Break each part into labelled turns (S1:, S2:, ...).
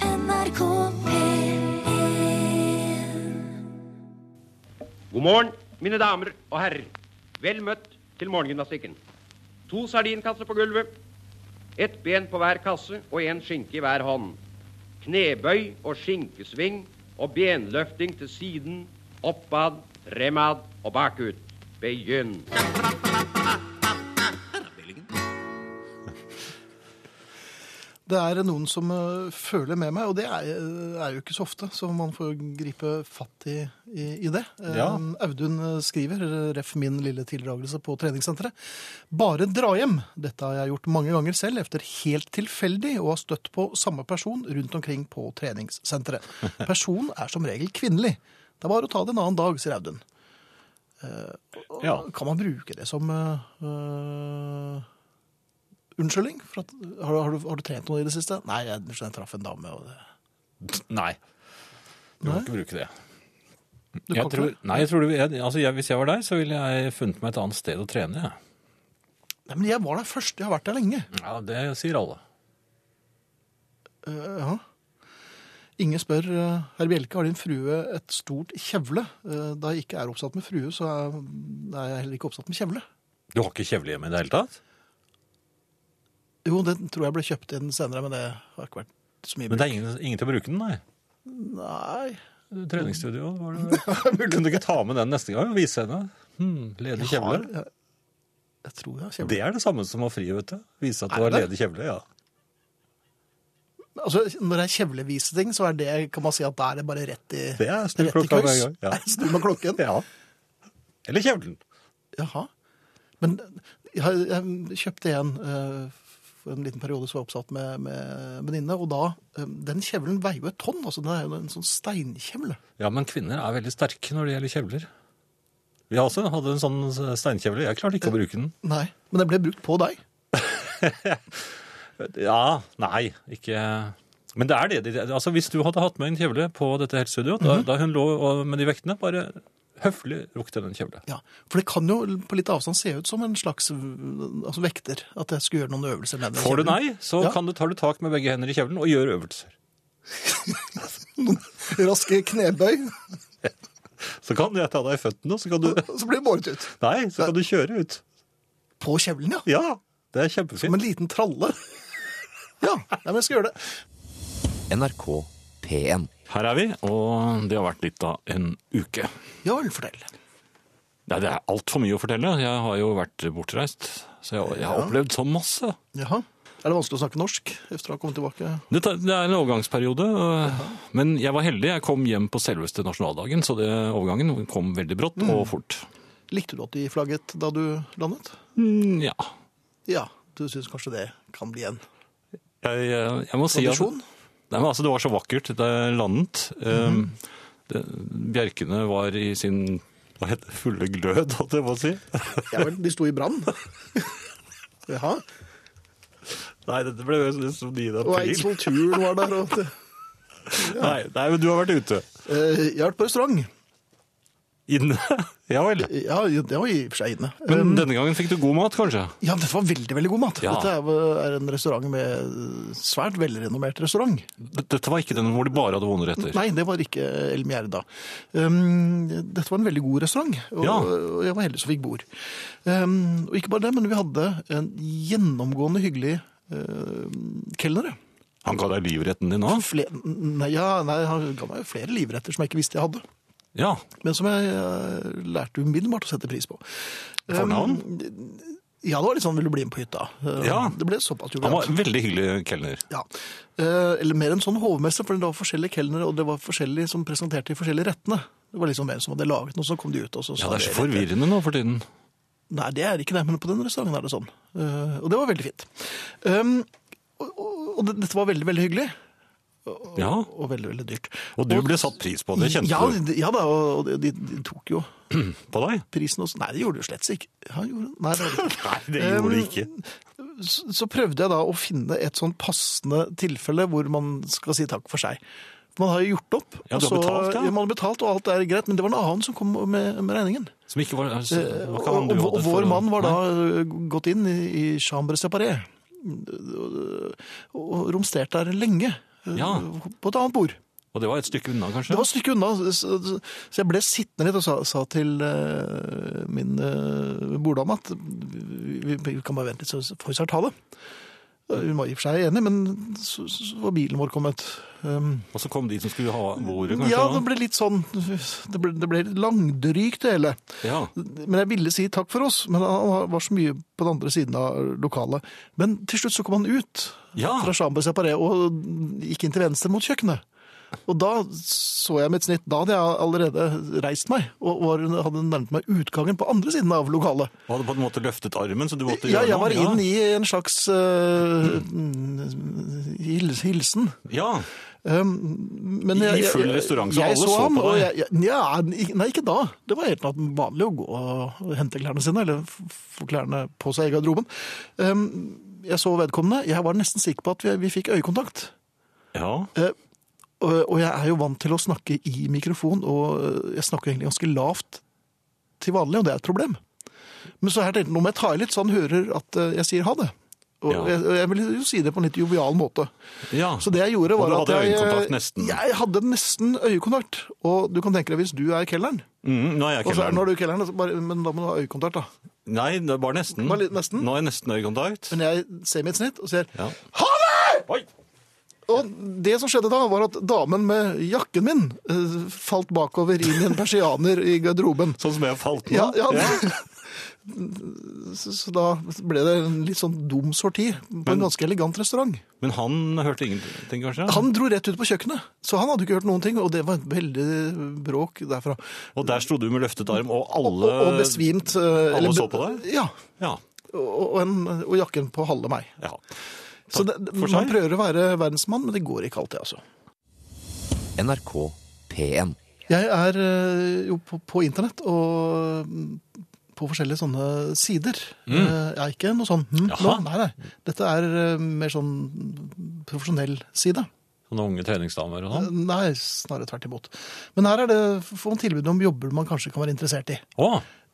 S1: NRK P1
S2: God morgen, mine damer og herrer. Vel møtt til morgengymnastikken. To sardinkasser på gulvet. Ett ben på hver kasse og én skinke i hver hånd. Knebøy og skinkesving og benløfting til siden, oppad, remad og bakut. Begynn.
S3: Det er noen som ø, føler med meg, og det er, ø, er jo ikke så ofte, så man får gripe fatt i, i, i det. Eh,
S4: Ja.
S3: Audun ø, skriver, ref min lille tildragelse på treningssenteret, bare dra hjem. Dette har jeg gjort mange ganger selv, efter helt tilfeldig, og har støtt på samme person rundt omkring på treningssenteret. Personen er som regel kvinnelig. Det er bare å ta det en annen dag, sier Audun. Eh,
S4: Ja.
S3: Kan man bruke det som eh, ø, ø, Unnskyldning? For at, har, du, har, du, har du trent noe i det siste? Nei, jeg, jeg traff en dame. Og det.
S4: Nei. Du
S3: Nei?
S4: kan ikke bruke det.
S3: Du
S4: Jeg
S3: kan
S4: tror,
S3: ikke
S4: nei, jeg tror du, jeg, altså jeg, Hvis jeg var deg, så ville jeg funnet meg et annet sted å trene. jeg.
S3: det. Nei, men jeg var der først. Jeg har vært der lenge.
S4: Ja, Det sier alle.
S3: Eh, ja. Inge spør eh, Herr Bjelke, har din frue et stort kjevle? Eh, da jeg ikke er oppsatt med frue, så er, er jeg heller ikke oppsatt med kjevle.
S4: Du har ikke kjevle hjemme i det hele tatt?
S3: Jo, den tror jeg ble kjøpt inn senere, men det har ikke vært så mye
S4: Men det er ingen, ingen til å bruke den, nei.
S3: bruk. Nei.
S4: Treningsstudio var det Kunne du ikke ta med den neste gang og vise henne? Hmm, ledig
S3: Jeg har-
S4: kjevle.
S3: Jeg, jeg tror jeg har kjevle.
S4: Det er det samme som å fri, vet du. Vise at du
S3: Er
S4: har
S3: det?
S4: ledig kjevle. ja.
S3: Altså, når det er kjevleviseting, så er det, kan man si at da er det bare rett i
S4: Det er snu
S3: rett i
S4: klokka
S3: kryss.
S4: hver gang, ja.
S3: Snu med klokken.
S4: ja. Eller kjevlen.
S3: Jaha. Men jeg, jeg kjøpte en eh, for en liten periode som var jeg oppsatt med, med venninne, og da eh, Den kjevlen veier jo et tonn, altså. Det er jo en sånn steinkjevle.
S4: Ja, men kvinner er veldig sterke når det gjelder kjevler. Vi har også hadde en sånn steinkjevle. Jeg klarte ikke å bruke den.
S3: Nei. Men den ble brukt på deg.
S4: Ja, nei, ikke Men det er det. de- Altså, Hvis du hadde hatt med en kjevle på dette helsestudioet, da, da hun lå og- med de vektene, bare høflig rukk til den kjevle.
S3: Ja. For det kan jo på litt avstand se ut som en slags eh, altså, vekter. At jeg skulle gjøre noen øvelser med den
S4: Får du
S3: kjevlen.
S4: nei, så
S3: Ja.
S4: kan du, tar du tak med begge hender i kjevlen og gjør øvelser.
S3: Raske knebøy,
S4: Så kan jeg ta deg i føttene, og så kan du
S3: så blir det båret ut.
S4: Nei, så kan du kjøre ut.
S3: På kjevlen, ja.
S4: Ja, det er
S3: Som
S4: kjempefint.
S3: en liten tralle. Ja, nei, men jeg skal gjøre det.
S5: NRK P1.
S4: Her er vi, og det har vært litt av en uke.
S3: Ja vel, fortell.
S4: Nei, det er altfor mye å fortelle. Jeg har jo vært bortreist, så jeg, jeg har opplevd så masse.
S3: Jaha. Er det vanskelig å snakke norsk etter å ha kommet tilbake?
S4: Det, tar- det er en overgangsperiode, øh, men jeg var heldig. Jeg kom hjem på selveste nasjonaldagen, så det, overgangen kom veldig brått og fort.
S3: Likte du at de flagget da du landet?
S4: Mm, Ja.
S3: Ja, du syns kanskje det kan bli en
S4: Jeg, jeg, jeg må si at
S3: tradisjon?
S4: Nei, men altså, det var så vakkert da jeg landet. Ehm, det, bjerkene var i sin hva heter det, fulle glød, holdt jeg på å si.
S3: Ja vel, de sto i brann. Jaha.
S4: Nei, dette ble jo som 9.
S3: Og
S4: april.
S3: Eidsvoll Turn var der. Og
S4: Nei, nei, men du har vært ute.
S3: Eh, jeg har vært på restaurant.
S4: Inne. Ja vel.
S3: Ja, det var i og for seg inne.
S4: Men denne gangen fikk du god mat, kanskje?
S3: Ja, dette var veldig veldig god mat.
S4: Ja.
S3: Dette er, er en restaurant med svært velrenommert restaurant.
S4: D- Dette var ikke den hvor de bare hadde vonde retter.
S3: Nei, det var ikke El Mierda. Um, dette var en veldig god restaurant, og,
S4: Ja.
S3: og jeg var heldig som fikk bord. Um, og ikke bare det, men vi hadde en gjennomgående hyggelig uh, kelnere.
S4: Han ga deg livretten din òg?
S3: Fle- nei, ja, nei, han ga meg jo flere livretter som jeg ikke visste jeg hadde.
S4: Ja.
S3: Men som jeg eh, lærte umiddelbart å sette pris på.
S4: Fornavn?
S3: Ja, det var litt sånn 'vil du bli med på hytta'? Eh,
S4: Ja.
S3: Det ble såpass
S4: Han
S3: jovialt.
S4: var en veldig hyggelig kelner.
S3: Ja. Eh, Eller mer en sånn hovmester, for det var forskjellige kelnere, og det var forskjellige som presenterte de forskjellige rettene. Det var liksom hvem som hadde laget noe, så kom de ut og så
S4: Ja,
S3: sa
S4: det er så
S3: de-
S4: forvirrende nå for tiden.
S3: Nei, det er ikke det, men på den restauranten er det sånn. Eh, Og det var veldig fint. Um, og, og, og det- dette var veldig, veldig hyggelig,
S4: Ja,
S3: og veldig, veldig dyrt.
S4: og du ble satt pris på, det kjente
S3: ja,
S4: du
S3: d- Ja da, og de, de tok jo
S4: på deg?
S3: prisen også. Nei, det gjorde du slett ikke. Ja, gjorde, nei, det gjorde det ikke.
S4: Nei, det gjorde du ikke.
S3: så, så prøvde jeg da å finne et sånn passende tilfelle hvor man skal si takk for seg. For Man har jo gjort opp.
S4: Ja, du har
S3: og så-
S4: betalt, ja.
S3: Man har betalt, og alt er greit, men det var en annen som kom med, med regningen.
S4: Som ikke var, altså, det var ikke han
S3: Og,
S4: du
S3: eh, og,
S4: hadde
S3: og
S4: for
S3: vår
S4: å-
S3: mann var da
S4: Nei.
S3: øh, gått inn i, i chambre separé og, og romstert der lenge. eh,
S4: Ja.
S3: på et annet bord.
S4: Og det var et stykke unna, kanskje?
S3: Det var et stykke unna, så, så- så jeg ble sittende litt og sa, sa til eh, min uh, borddame at vi, vi- vi kan bare vente litt, så får vi snart ha det. Eh, Hun var i og for seg enig, men så, så var bilen vår kommet. Um,
S4: Og så kom de som skulle ha bordet, kanskje?
S3: ja,
S4: da?
S3: det ble litt sånn Det ble, det ble langdrygt, det hele.
S4: ja.
S3: Men jeg ville si takk for oss, men han var så mye på den andre siden av lokalet. Men til slutt så kom han ut
S4: Ja.
S3: fra Chambre Separé og gikk inn til venstre mot kjøkkenet. Og da så jeg mitt snitt. Da hadde jeg allerede reist meg og var, hadde nærmet meg utgangen på andre siden av lokalet.
S4: Og hadde på en måte løftet armen, så du måtte
S3: Ja,
S4: gjøre
S3: jeg
S4: noe?
S3: var inn i en slags øh, mm, hils- hilsen.
S4: Ja.
S3: Um, men
S4: I full restaurant, så alle
S3: jeg
S4: så på
S3: og
S4: deg?
S3: Jeg, jeg, ja, ik- nei, ikke da. Det var helt vanlig å gå og hente klærne sine, eller f- få klærne på seg i garderoben. Um, jeg så vedkommende. Jeg var nesten sikker på at vi, vi fikk øyekontakt.
S4: ja.
S3: Eh, og, og jeg er jo vant til å snakke i mikrofon, og eh, jeg snakker egentlig ganske lavt til vanlig, og det er et problem. Men så her tenkte jeg, nå må jeg ta i litt, så han hører at eh, jeg sier ha det. Og
S4: Ja.
S3: jeg, og jeg vil jo si det på en litt jovial måte.
S4: ja.
S3: Så det jeg gjorde
S4: Og
S3: var
S4: du
S3: at
S4: hadde
S3: jeg,
S4: øyekontakt nesten?
S3: Jeg hadde nesten øyekontakt. Og du kan tenke deg hvis du er kelleren,
S4: Mm, nå er jeg
S3: og så er-
S4: ikke
S3: nå er du kelleren, og så bare, men da må du ha øyekontakt, da.
S4: Nei, det var nesten.
S3: Bare litt nesten.
S4: Nå er jeg nesten øyekontakt.
S3: Men jeg ser mitt snitt og sier
S4: Ja.
S3: ha det!
S4: Oi!
S3: Og det som skjedde da, var at damen med jakken min eh, falt bakover inn i en persianer i garderoben.
S4: Sånn som jeg har falt nå?
S3: Ja, ja. Så, så da ble det en litt sånn dum sorti på en ganske elegant restaurant.
S4: Men han hørte ingenting, kanskje?
S3: Han dro rett ut på kjøkkenet, så han hadde ikke hørt noen ting, og det var et veldig bråk derfra.
S4: Og der sto du med løftet arm, og
S3: Og,
S4: alle
S3: og besvimt. eh,
S4: Alle
S3: eller-
S4: så på deg?
S3: Ja,
S4: Ja.
S3: og, og, en, og jakken på halve meg.
S4: ja.
S3: Så det,
S4: for
S3: man
S4: seg.
S3: prøver å være verdensmann, men det går ikke alltid, altså.
S5: NRK P1.
S3: Jeg er eh, jo på, på internett og mm, på forskjellige sånne sider. Eh, Jeg er ikke noe sånn hm, nå,
S4: Mm. Jaha.
S3: nei, nei. Dette er eh, mer sånn profesjonell side.
S4: Sånne unge treningsdamer og
S3: Eh,
S4: sånn?
S3: Nei, snarere tvert imot. Men her er det, får man tilbud om jobber man kanskje kan være interessert i.
S4: Å!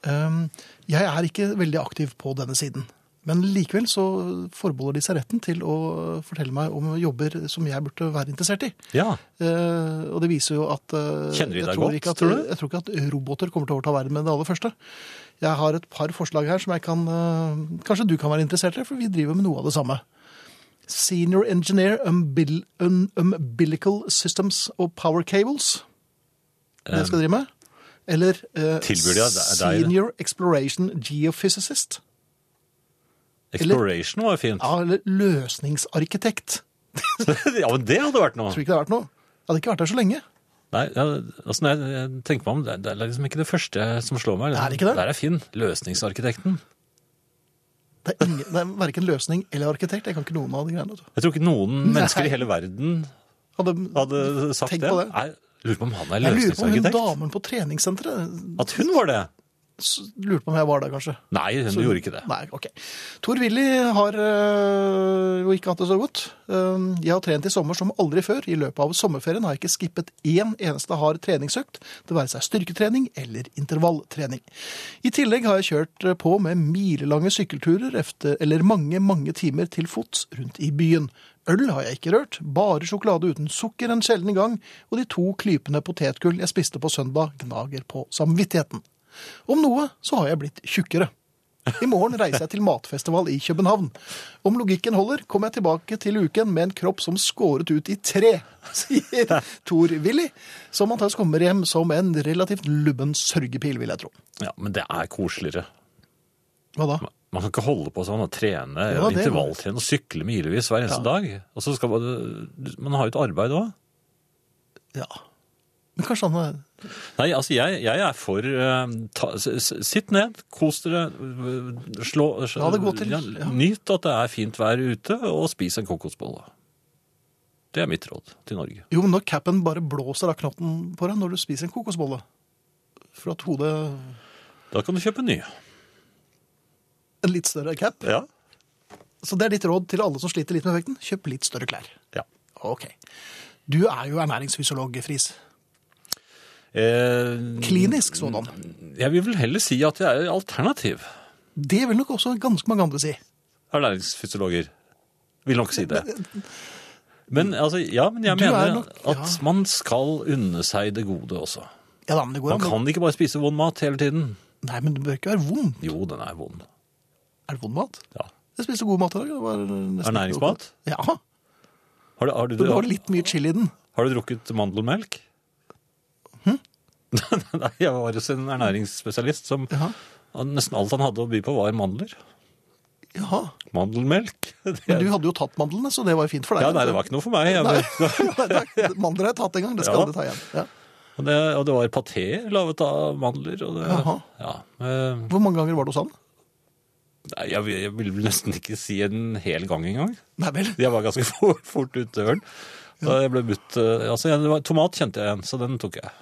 S3: Um, Jeg er ikke veldig aktiv på denne siden. Men likevel så forbeholder de seg retten til å fortelle meg om jobber som jeg burde være interessert i.
S4: Ja.
S3: Eh, og det viser jo at eh,
S4: Kjenner de
S3: jeg
S4: deg
S3: tror
S4: godt,
S3: ikke at,
S4: tror du?
S3: Jeg tror ikke at roboter kommer til å overta verden med det aller første. Jeg har et par forslag her som jeg kan eh, Kanskje du kan være interessert i, for vi driver med noe av det samme. Senior Engineer umbil, um, Umbilical Systems og Power Cables. Det skal jeg drive med. Eller eh,
S4: Um, Tilbyr de deg det?
S3: Senior Exploration Geophysicist.
S4: Exploration var jo fint.
S3: Ja, eller løsningsarkitekt.
S4: ja, men det hadde vært noe.
S3: Tror ikke det har vært noe. Jeg hadde ikke vært der så lenge.
S4: Nei, ja, altså når jeg, jeg tenker meg om, det, det er liksom ikke det første som slår meg.
S3: Er det ikke det?
S4: Der er Finn, løsningsarkitekten.
S3: Det er, ingen, det er verken løsning eller arkitekt. Jeg kan ikke noen av de greiene. vet du.
S4: Jeg tror ikke noen
S3: Nei.
S4: mennesker i hele verden
S3: Hadde,
S4: hadde sagt
S3: Tenk
S4: det.
S3: på det.
S4: Nei, jeg lurer på om han er
S3: jeg lurer på om hun
S4: løsningsarkitekt.
S3: damen på treningssenteret
S4: At hun var det?
S3: s- lurte på om jeg var der, kanskje.
S4: Nei, hun gjorde ikke det.
S3: Nei, ok. Tor Willy har øh, jo ikke hatt det så godt. Ehm, Jeg har trent i sommer som aldri før. I løpet av sommerferien har jeg ikke skippet én eneste hard treningsøkt, det være seg styrketrening eller intervalltrening. I tillegg har jeg kjørt på med milelange sykkelturer efter, eller mange, mange timer til fots rundt i byen. Øl har jeg ikke rørt, bare sjokolade uten sukker en sjelden gang, og de to klypene potetgull jeg spiste på søndag gnager på samvittigheten. Om noe så har jeg blitt tjukkere. I morgen reiser jeg til matfestival i København. Om logikken holder, kommer jeg tilbake til uken med en kropp som skåret ut i tre, sier Tor Willy, som antakeligvis kommer hjem som en relativt lubben sørgepil, vil jeg tro.
S4: Ja, Men det er koseligere.
S3: Hva da?
S4: Man kan ikke holde på sånn og trene,
S3: Ja, det-
S4: intervalltrene og sykle milevis hver eneste dag. Og så skal man, man har jo et arbeid òg.
S3: Ja. Men kanskje han er
S4: Nei, altså jeg, jeg er for eh, ta, s- s- Sitt ned, kos dere, eh, slå
S3: La det gå til,
S4: ja,
S3: ja.
S4: Nyt at det er fint vær ute, og spis en kokosbolle. Det er mitt råd til Norge.
S3: Jo, men når capen bare blåser av knotten på deg når du spiser en kokosbolle For at hodet
S4: Da kan du kjøpe ny.
S3: En litt større cap.
S4: Ja.
S3: Så det er ditt råd til alle som sliter litt med vekten. Kjøp litt større klær.
S4: ja.
S3: Ok. Du er jo ernæringsfysiolog, Friis.
S4: Eh,
S3: Klinisk sådan.
S4: jeg vil vel heller si at jeg er alternativ
S3: Det vil nok også ganske mange andre si.
S4: ernæringsfysiologer. Vil nok si det. Men, altså, ja, men jeg
S3: Du er
S4: mener
S3: nok-
S4: at
S3: ja.
S4: man skal unne seg det gode også.
S3: Ja, da, men det går
S4: Man
S3: an.
S4: kan ikke bare spise vond mat hele tiden.
S3: Nei, men det bør ikke være vond.
S4: Jo, den er vond.
S3: Er det vond mat?
S4: Ja.
S3: Jeg spiste god mat i dag. det var nesten ikke noe-
S4: Ernæringsmat?
S3: Ja.
S4: Har du, har du,
S3: Det var litt mye chili i den.
S4: har du drukket mandelmelk?
S3: Hm?
S4: Nei, jeg var hos en ernæringsspesialist som
S3: Ja.
S4: han- nesten alt han hadde å by på, var mandler.
S3: Jaha.
S4: Mandelmelk. Det,
S3: Men du hadde jo tatt mandlene, så det var jo fint for deg.
S4: ja, nei, det var ikke noe for meg. Jeg,
S3: Nei, det er- Mandler har jeg tatt en gang, det skal
S4: Ja.
S3: jeg aldri ta igjen. Ja.
S4: og, det, og det var paté laget av mandler. Og det,
S3: Jaha.
S4: ja, eh,
S3: Hvor mange ganger var det hos han?
S4: nei, jeg, vil- jeg vil nesten ikke si en hel gang engang.
S3: Nei vel.
S4: Jeg var ganske fort, fort ute døren. Så jeg ble budt, eh, altså, jeg- det var, tomat kjente jeg igjen, så den tok jeg.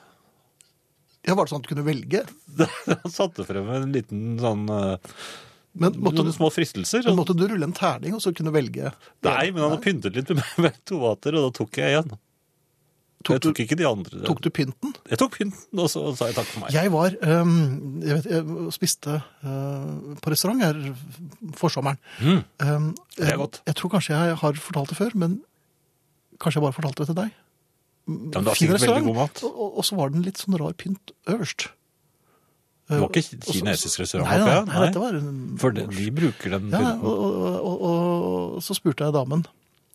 S3: Ja, var det sånn at du kunne velge?
S4: Han satte frem en liten sånn eh,
S3: Men måtte
S4: noen
S3: du,
S4: små fristelser.
S3: men
S4: Og,
S3: måtte du rulle en terning og så kunne velge?
S4: nei, men han hadde pyntet litt med, med tomater, og da tok jeg igjen.
S3: Tok
S4: jeg
S3: du,
S4: tok ikke de andre.
S3: tok du pynten?
S4: Jeg tok pynten, og så sa jeg takk for meg.
S3: Jeg var øhm, jeg, vet, jeg spiste øh, på restaurant her forsommeren. Øhm,
S4: Mm. Det er godt.
S3: Jeg, jeg tror kanskje jeg har fortalt det før, men kanskje jeg bare fortalte det til deg.
S4: Ja, men det var sikkert veldig god mat.
S3: Og, og, og så var den litt sånn rar pynt øverst.
S4: Det var ikke
S3: Og så-
S4: kinesisk restaurant,
S3: Nei, nei,
S4: håper jeg?
S3: nei,
S4: Nei.
S3: dette var en
S4: For de, de bruker den
S3: Ja,
S4: pynten.
S3: og, og, og, og så spurte jeg damen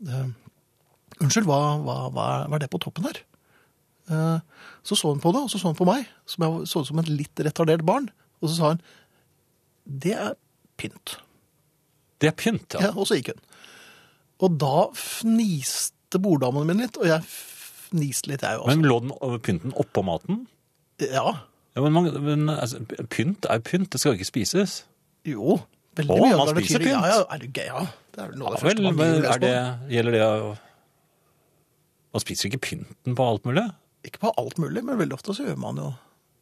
S3: eh, Unnskyld, hva, hva, hva, er- hva er det på toppen her? Eh, så så hun på det, og så så hun på meg, som jeg så ut som et litt retardert barn. Og så sa hun Det er pynt.
S4: Det er pynt, ja.
S3: Ja, og så gikk hun. Og da fniste borddamene mine litt, og jeg fniste litt, jeg også.
S4: Men lå den over pynten oppå maten?
S3: ja.
S4: Ja, men, man, men altså, pynt er pynt, det skal jo ikke spises.
S3: Jo. Veldig
S4: Å,
S3: mye.
S4: man
S3: alternativer.
S4: spiser pynt.
S3: Ja, ja, er det gøy? Ja. Det er vel noe av
S4: Ja
S3: det
S4: vel,
S3: første man
S4: men
S3: blir
S4: er
S3: løs
S4: det,
S3: på.
S4: gjelder det å- Man spiser ikke pynten på alt mulig?
S3: Ikke på alt mulig, men veldig ofte så gjør man jo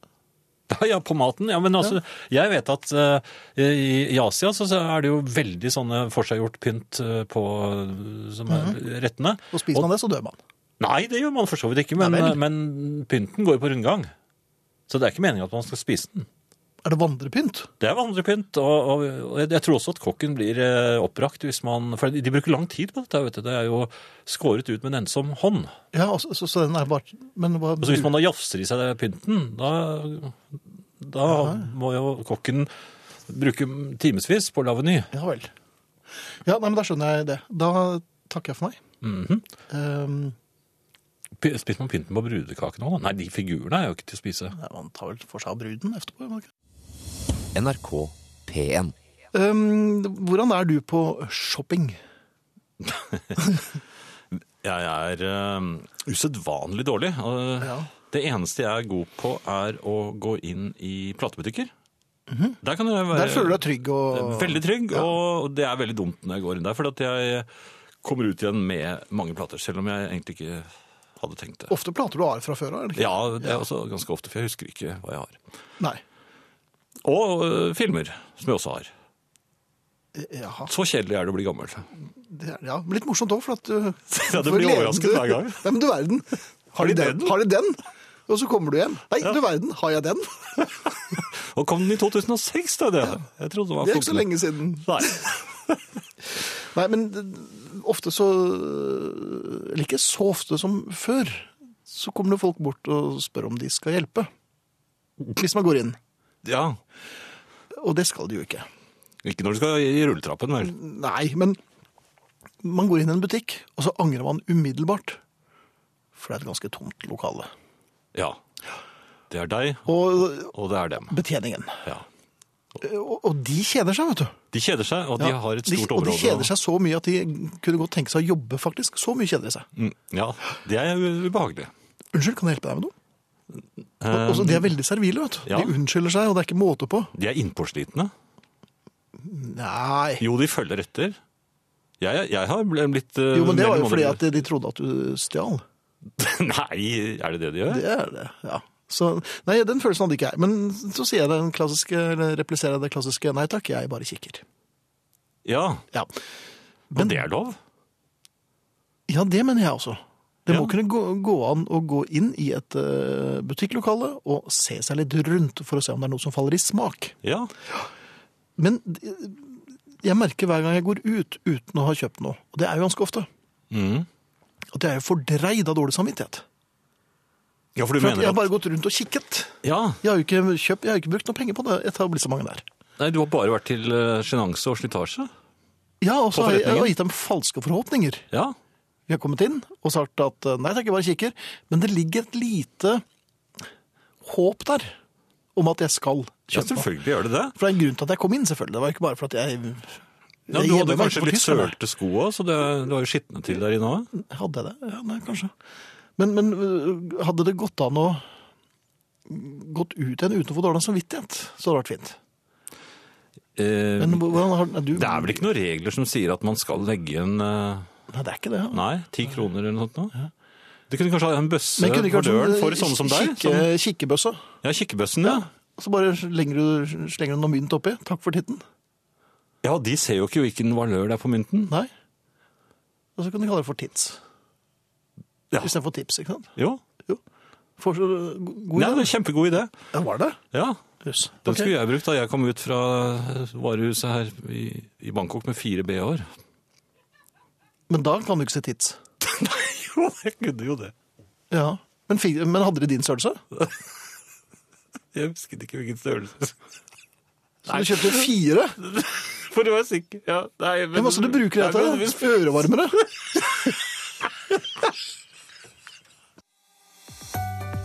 S4: Ja, ja, på maten. Ja, men altså, jeg vet at eh, i, i Asia så, så er det jo veldig sånne forseggjort pynt eh, på eh, som er rettene.
S3: Mhm. Og spiser man det, så dør man.
S4: Nei, det gjør man for så vidt ikke, men, eh,
S3: Nei vel.
S4: men pynten går jo på rundgang. Så det er ikke meningen at man skal spise den.
S3: Er det vandrepynt?
S4: Det er vandrepynt, og, og, og jeg- jeg tror også at kokken blir eh, oppbrakt hvis man For de bruker lang tid på dette, vet du. Det er jo skåret ut med en ensom hånd.
S3: Ja, og så, så, så den er bare Men hva
S4: Og så hvis man da jafser i seg pynten, da, da må jo kokken bruke timevis på å lage ny.
S3: Ja vel. Ja, nei, men da skjønner jeg det. Da takker jeg for meg.
S4: Mhm.
S3: Ehm,
S4: P- Spiser man pynten på brudekakene òg? Nei, de figurene er jo ikke til å spise.
S3: nei, man tar vel for seg av bruden etterpå. gjør man ikke?
S5: NRK P1.
S3: Ehm, hvordan er du på shopping?
S4: Jeg er uh, usedvanlig dårlig. og
S3: Ja.
S4: Det eneste jeg er god på, er å gå inn i platebutikker. Der kan jeg
S3: Mhm.
S4: være
S3: Der føler du deg trygg og
S4: Eh, veldig trygg, og det er veldig dumt når jeg går inn der. For at jeg kommer ut igjen med mange plater, selv om jeg egentlig ikke hadde tenkt det.
S3: Ofte plater du har fra før av, er det ikke?
S4: Ja, det er også ganske ofte, for jeg husker ikke hva jeg har.
S3: Nei.
S4: Og øh, filmer, som jeg også har.
S3: Eh, Jaha.
S4: Så kjedelig er det å bli gammel.
S3: Det er, ja, men litt morsomt òg, for at du
S4: Ja, du
S3: for
S4: blir
S3: gleden-
S4: overrasket hver gang.
S3: Nei, men du verden. Har de den? Har de den? Og så kommer du hjem. Nei, du verden, har jeg den?
S4: Og kom den i 2006, da? Det, jeg trodde det var
S3: Det er ikke så
S4: 14.
S3: lenge siden.
S4: Nei.
S3: Nei, men det- ofte så eh, Eller ikke så ofte som før. Så kommer det folk bort og spør om de skal hjelpe. Hvis man går inn.
S4: Ja.
S3: Og det skal de jo ikke.
S4: Ikke når du skal i rulletrappen, vel?
S3: Nei, men man går inn i en butikk, og så angrer man umiddelbart. For det er et ganske tomt lokale.
S4: Ja. Det er deg,
S3: Og eh,
S4: og det er dem.
S3: betjeningen.
S4: Ja.
S3: Og, og de kjeder seg, vet du.
S4: De kjeder seg, og de
S3: Ja,
S4: har et
S3: de-
S4: stort
S3: Og
S4: område.
S3: de kjeder seg så mye at de kunne godt tenke seg å jobbe, faktisk. Så mye kjeder de seg.
S4: Mm, Ja, det er u- ubehagelig.
S3: Unnskyld, kan jeg hjelpe deg med noe? Og, og så de er veldig servile, vet du.
S4: Um, ja.
S3: De unnskylder seg, og det er ikke måte på.
S4: De er innpåslitne.
S3: Nei.
S4: Jo, de følger etter. Jeg, jeg har bl- blitt øh,
S3: Jo, men det
S4: mer
S3: var jo
S4: eller
S3: fordi
S4: mindre-
S3: at de trodde at du stjal.
S4: Nei, er det det de gjør?
S3: Det er det, ja. Så, nei, den følelsen hadde ikke jeg. Men så sier jeg den klassiske, eller repliserer jeg det klassiske, nei takk, jeg bare kikker.
S4: Ja.
S3: Ja,
S4: Men det er lov?
S3: ja det mener jeg også. Det må
S4: Ja.
S3: kunne gå, gå an å gå inn i et eh, butikklokale og se seg litt rundt for å se om det er noe som faller i smak.
S4: Ja.
S3: Men eh, jeg merker hver gang jeg går ut uten å ha kjøpt noe, og det er jo ganske ofte,
S4: Mhm.
S3: At jeg er fordreid av dårlig samvittighet.
S4: Ja, for du
S3: For at jeg
S4: mener
S3: har
S4: at
S3: bare gått rundt og kikket.
S4: Ja.
S3: Jeg har jo ikke, kjøpt, jeg har ikke brukt noe penger på det etablissementet der.
S4: Nei, du har bare vært til eh, sjenanse og slitasje?
S3: Ja, og så
S4: På
S3: har jeg, jeg har
S4: forretningen?
S3: gitt dem falske forhåpninger.
S4: Ja.
S3: Vi har kommet inn og sagt at eh, nei takk, jeg bare kikker. Men det ligger et lite håp der om at jeg skal
S4: ja,
S3: kjøpe. noe.
S4: selvfølgelig gjør det det.
S3: for det er en grunn til at jeg kom inn, selvfølgelig. Det var ikke bare for at jeg
S4: Ja,
S3: jeg
S4: men du
S3: gjemmer
S4: hadde
S3: meg
S4: kanskje
S3: ikke for
S4: litt
S3: tyskerne.
S4: sølte sko òg, så det, du har jo skitne til der inne òg.
S3: Hadde jeg det? Ja, nei, kanskje. Men, men øh, hadde det gått an å gått ut igjen uten å få dårlig samvittighet, så hadde det vært fint.
S4: Eh,
S3: Men hvordan har nei, du,
S4: det er vel ikke noen regler som sier at man skal legge igjen eh,
S3: Nei, det er ikke det. Ja.
S4: Nei, ti kroner eller noe sånt nå. Du kunne kanskje ha en bøsse
S3: Men kunne det ikke
S4: for
S3: vært sånn,
S4: døren
S3: øh,
S4: for sånne som deg?
S3: kikke,
S4: Som,
S3: Kikkebøsse.
S4: ja, kikkebøssen, ja.
S3: Og så bare slenger du, slenger du noe mynt oppi. Takk for titten.
S4: Ja, de ser jo ikke hvilken valør det er på mynten.
S3: Nei. Og så kan du kalle det for tits.
S4: Ja.
S3: Istedenfor tips, ikke sant?
S4: Jo.
S3: Jo. For så øh, god
S4: Nei,
S3: idé.
S4: det er en kjempegod idé.
S3: Ja, var det?
S4: Ja.
S3: Jøss.
S4: Den
S3: Ok.
S4: skulle jeg brukt da jeg kom ut fra eh, varehuset her i, i Bangkok med fire BH-er.
S3: Men da kan du ikke si tits.
S4: Jo, jeg kunne jo det.
S3: Ja. Men, fi- men hadde de din størrelse?
S4: Jeg husket ikke hvilken størrelse.
S3: Så du kjøpte fire?
S4: For å være sikker. Ja, nei,
S3: Ja,
S4: men,
S3: men altså, du bruker det til
S4: Nei, men-
S3: ørevarmere.